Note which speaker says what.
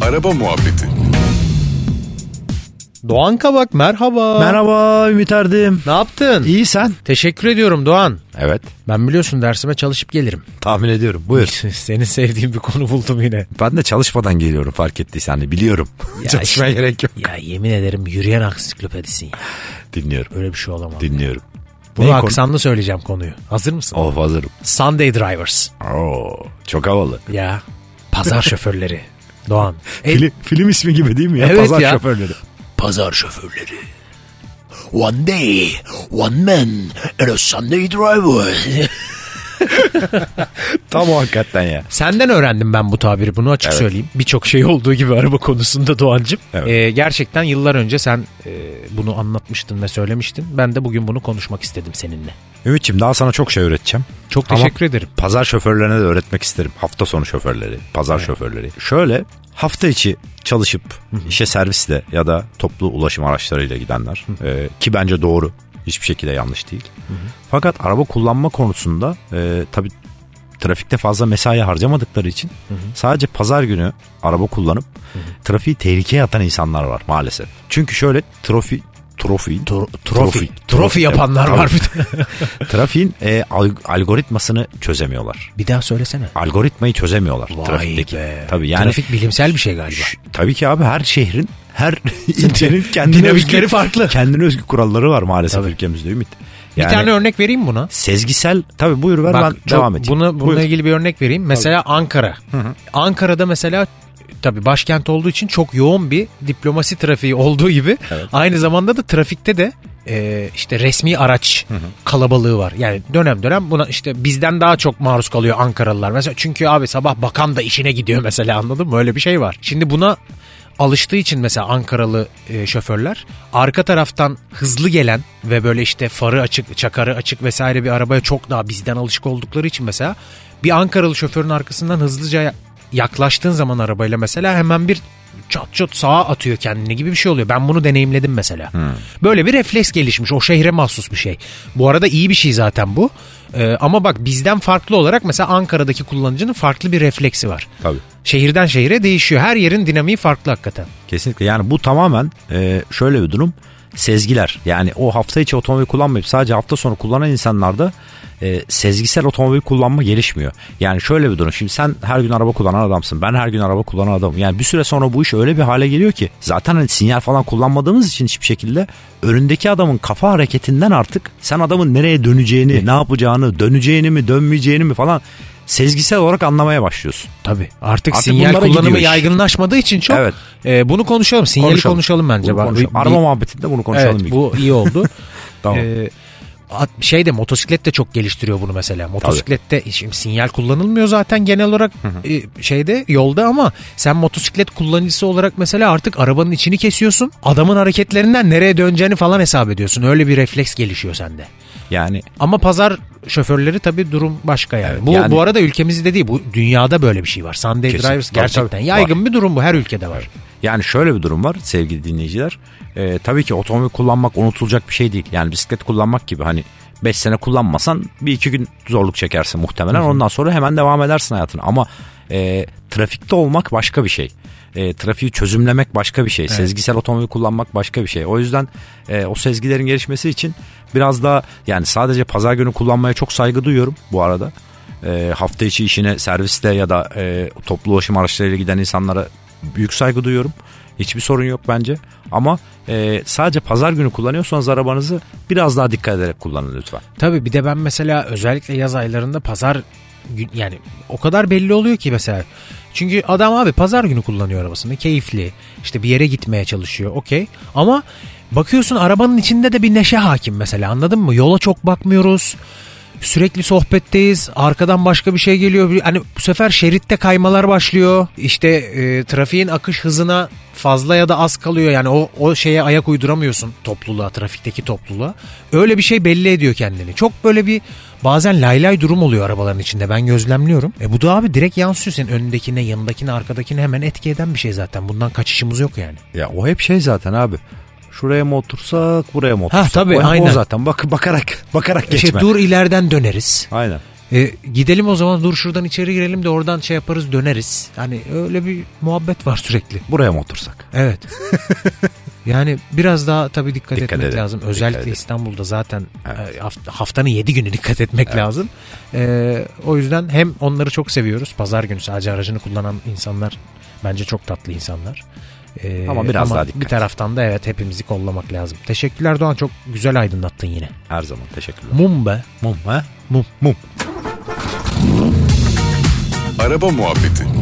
Speaker 1: Araba Muhabbeti
Speaker 2: Doğan Kabak merhaba.
Speaker 3: Merhaba Ümit Erdim.
Speaker 2: Ne yaptın?
Speaker 3: İyi sen?
Speaker 2: Teşekkür ediyorum Doğan.
Speaker 3: Evet.
Speaker 2: Ben biliyorsun dersime çalışıp gelirim.
Speaker 3: Tahmin ediyorum. Buyur.
Speaker 2: Seni sevdiğim bir konu buldum yine.
Speaker 3: Ben de çalışmadan geliyorum fark ettiysen. Hani biliyorum.
Speaker 2: Ya
Speaker 3: Çalışmaya
Speaker 2: işte.
Speaker 3: gerek yok.
Speaker 2: Ya yemin ederim yürüyen ansiklopedisin ya.
Speaker 3: Dinliyorum.
Speaker 2: Böyle bir şey olamaz.
Speaker 3: Dinliyorum.
Speaker 2: Bunu
Speaker 3: Ne konu?
Speaker 2: aksanlı söyleyeceğim konuyu. Hazır mısın?
Speaker 3: Of hazırım.
Speaker 2: Sunday drivers.
Speaker 3: Oo, çok havalı.
Speaker 2: Ya. Pazar şoförleri. Doğan. E,
Speaker 3: Film, film ismi gibi değil mi ya?
Speaker 2: Evet
Speaker 3: Pazar
Speaker 2: ya.
Speaker 3: şoförleri.
Speaker 4: Pazar şoförleri. One day, one man and a Sunday driver.
Speaker 3: Tam o hakikaten ya.
Speaker 2: Senden öğrendim ben bu tabiri bunu açık söyleyeyim. Birçok şey olduğu gibi araba konusunda Doğancım.
Speaker 3: Evet.
Speaker 2: E, gerçekten yıllar önce sen e, bunu anlatmıştın ve söylemiştin. Ben de bugün bunu konuşmak istedim seninle.
Speaker 3: Ümit'ciğim daha sana çok şey öğreteceğim.
Speaker 2: Çok
Speaker 3: Ama-
Speaker 2: teşekkür ederim.
Speaker 3: Pazar şoförlerine de öğretmek isterim. Hafta sonu şoförleri, pazar şoförleri. Şöyle hafta içi çalışıp işe servisle ya da toplu ulaşım araçlarıyla gidenler e, ki bence doğru hiçbir şekilde yanlış değil. Fakat araba kullanma konusunda e, tabii trafikte fazla mesai harcamadıkları için sadece pazar günü araba kullanıp trafiği tehlikeye atan insanlar var maalesef. Çünkü şöyle trofi trofi
Speaker 2: Trofi. Trofi yapanlar
Speaker 3: Evet,
Speaker 2: var bir de.
Speaker 3: Trafiğin e, alg- algoritmasını çözemiyorlar.
Speaker 2: bir daha söylesene.
Speaker 3: Algoritmayı çözemiyorlar
Speaker 2: Vay
Speaker 3: trafikteki.
Speaker 2: be.
Speaker 3: Tabii yani
Speaker 2: Trafik bilimsel bir şey galiba.
Speaker 3: Ş- tabii ki abi her şehrin her ilçenin kendine
Speaker 2: Dinamikleri
Speaker 3: özgü-
Speaker 2: farklı.
Speaker 3: Kendine özgü kuralları var maalesef
Speaker 2: Tabii.
Speaker 3: ülkemizde Ümit.
Speaker 2: bir
Speaker 3: Yani
Speaker 2: tane örnek vereyim mi buna.
Speaker 3: sezgisel tabii buyur ver
Speaker 2: Bak,
Speaker 3: ben devam edeyim.
Speaker 2: Buna, bununla
Speaker 3: Buyur.
Speaker 2: ilgili bir örnek vereyim. Mesela Ankara. Ankara'da mesela tabii başkent olduğu için çok yoğun bir diplomasi trafiği olduğu gibi aynı zamanda da trafikte de e, işte resmi araç kalabalığı var. Yani dönem dönem buna işte bizden daha çok maruz kalıyor Ankaralılar. Mesela çünkü abi sabah bakan da işine gidiyor mesela anladın mı? Öyle bir şey var. Şimdi buna alıştığı için mesela Ankaralı e, şoförler arka taraftan hızlı gelen ve böyle işte farı açık, çakarı açık vesaire bir arabaya çok daha bizden alışık oldukları için mesela bir Ankaralı şoförün arkasından hızlıca ya- yaklaştığın zaman arabayla mesela hemen bir çat çat sağa atıyor kendini gibi bir şey oluyor. Ben bunu deneyimledim mesela. Böyle bir refleks gelişmiş. O şehre mahsus bir şey. Bu arada iyi bir şey zaten bu. E, ama bak bizden farklı olarak mesela Ankara'daki kullanıcının farklı bir refleksi var.
Speaker 3: Tabii.
Speaker 2: Şehirden şehire değişiyor. Her yerin dinamiği farklı hakikaten.
Speaker 3: Kesinlikle yani bu tamamen e, şöyle bir durum sezgiler yani o hafta içi otomobil kullanmayıp sadece hafta sonu kullanan insanlarda e, sezgisel otomobil kullanma gelişmiyor. Yani şöyle bir durum şimdi sen her gün araba kullanan adamsın ben her gün araba kullanan adamım yani bir süre sonra bu iş öyle bir hale geliyor ki zaten hani sinyal falan kullanmadığımız için hiçbir şekilde önündeki adamın kafa hareketinden artık sen adamın nereye döneceğini ne yapacağını döneceğini mi dönmeyeceğini mi falan sezgisel olarak anlamaya başlıyorsun.
Speaker 2: Tabii. Artık,
Speaker 3: Artık
Speaker 2: sinyal
Speaker 3: bunlara
Speaker 2: kullanımı
Speaker 3: gidiyor iş.
Speaker 2: yaygınlaşmadığı için çok.
Speaker 3: Evet.
Speaker 2: e, bunu konuşalım. Sinyali konuşalım, bence.
Speaker 3: Bunu
Speaker 2: Bak,
Speaker 3: konuşalım.
Speaker 2: bir-
Speaker 3: Araba muhabbetinde bunu konuşalım. bir
Speaker 2: Evet
Speaker 3: gün.
Speaker 2: bu iyi oldu.
Speaker 3: Tamam.
Speaker 2: E, at- şey de motosiklet de çok geliştiriyor bunu mesela. Motosiklette şimdi sinyal kullanılmıyor zaten genel olarak e, şeyde yolda ama sen motosiklet kullanıcısı olarak mesela artık arabanın içini kesiyorsun. Adamın hareketlerinden nereye döneceğini falan hesap ediyorsun. Öyle bir refleks gelişiyor sende.
Speaker 3: Yani
Speaker 2: Ama pazar şoförleri tabii durum başka yani. bu
Speaker 3: yani-
Speaker 2: bu arada ülkemizde değil bu dünyada böyle bir şey var. Sunday
Speaker 3: Kesin.
Speaker 2: drivers
Speaker 3: Tabii,
Speaker 2: gerçekten
Speaker 3: tabii.
Speaker 2: yaygın bir durum bu her ülkede var.
Speaker 3: yani şöyle bir durum var sevgili dinleyiciler. Ee, tabii ki otomobil kullanmak unutulacak bir şey değil. Yani bisiklet kullanmak gibi hani 5 sene kullanmasan bir iki gün zorluk çekersin muhtemelen. Ondan sonra hemen devam edersin hayatına. Ama e, trafikte olmak başka bir şey. E, trafiği çözümlemek başka bir şey. Sezgisel otomobil kullanmak başka bir şey. O yüzden e, o sezgilerin gelişmesi için biraz daha yani sadece pazar günü kullanmaya çok saygı duyuyorum bu arada. E, hafta içi işine serviste ya da e, toplu ulaşım araçlarıyla giden insanlara büyük saygı duyuyorum. Hiçbir sorun yok bence. Ama e, sadece pazar günü kullanıyorsanız arabanızı biraz daha dikkat ederek kullanın lütfen.
Speaker 2: Tabii bir de ben mesela özellikle yaz aylarında pazar gün yani o kadar belli oluyor ki mesela. Çünkü adam abi pazar günü kullanıyor arabasını. Keyifli. işte bir yere gitmeye çalışıyor. Okey. Ama bakıyorsun arabanın içinde de bir neşe hakim mesela. Anladın mı? Yola çok bakmıyoruz. Sürekli sohbetteyiz. Arkadan başka bir şey geliyor. Bir- Hani bu sefer şeritte kaymalar başlıyor. İşte e, trafiğin akış hızına fazla ya da az kalıyor. Yani o o şeye ayak uyduramıyorsun topluluğa, trafikteki topluluğa. Öyle bir şey belli ediyor kendini. Çok böyle bir bazen laylay durum oluyor arabaların içinde. Ben gözlemliyorum. E bu da abi direkt yansıyor senin önündekine, yanındakine, arkadakine hemen etki eden bir şey zaten. Bundan kaçışımız yok yani.
Speaker 3: Ya o hep şey zaten abi. Şuraya mı otursak buraya mı
Speaker 2: otursak? tabii, O hep o aynen.
Speaker 3: zaten bak bakarak bakarak
Speaker 2: İşte dur Şey, ileriden döneriz.
Speaker 3: Aynen.
Speaker 2: E, gidelim o zaman dur şuradan içeri girelim de oradan şey yaparız döneriz. Hani öyle bir muhabbet var sürekli.
Speaker 3: Buraya mı otursak?
Speaker 2: Evet. yani biraz daha tabii dikkat,
Speaker 3: Dikkat
Speaker 2: etmek
Speaker 3: edelim,
Speaker 2: lazım.
Speaker 3: dikkat
Speaker 2: Özellikle
Speaker 3: edelim.
Speaker 2: İstanbul'da zaten e, haft- haftanın 7 günü dikkat etmek lazım. E, o yüzden hem onları çok seviyoruz. Pazar günü sadece aracını kullanan insanlar bence çok tatlı insanlar. E,
Speaker 3: Ama biraz daha dikkat.
Speaker 2: Bir taraftan da evet hepimizi kollamak lazım. Teşekkürler Doğan çok güzel aydınlattın yine.
Speaker 3: Her zaman teşekkürler.
Speaker 2: Mum be.
Speaker 3: Mum ha?
Speaker 2: Mum.
Speaker 3: Mum.
Speaker 1: Araba Muhabbeti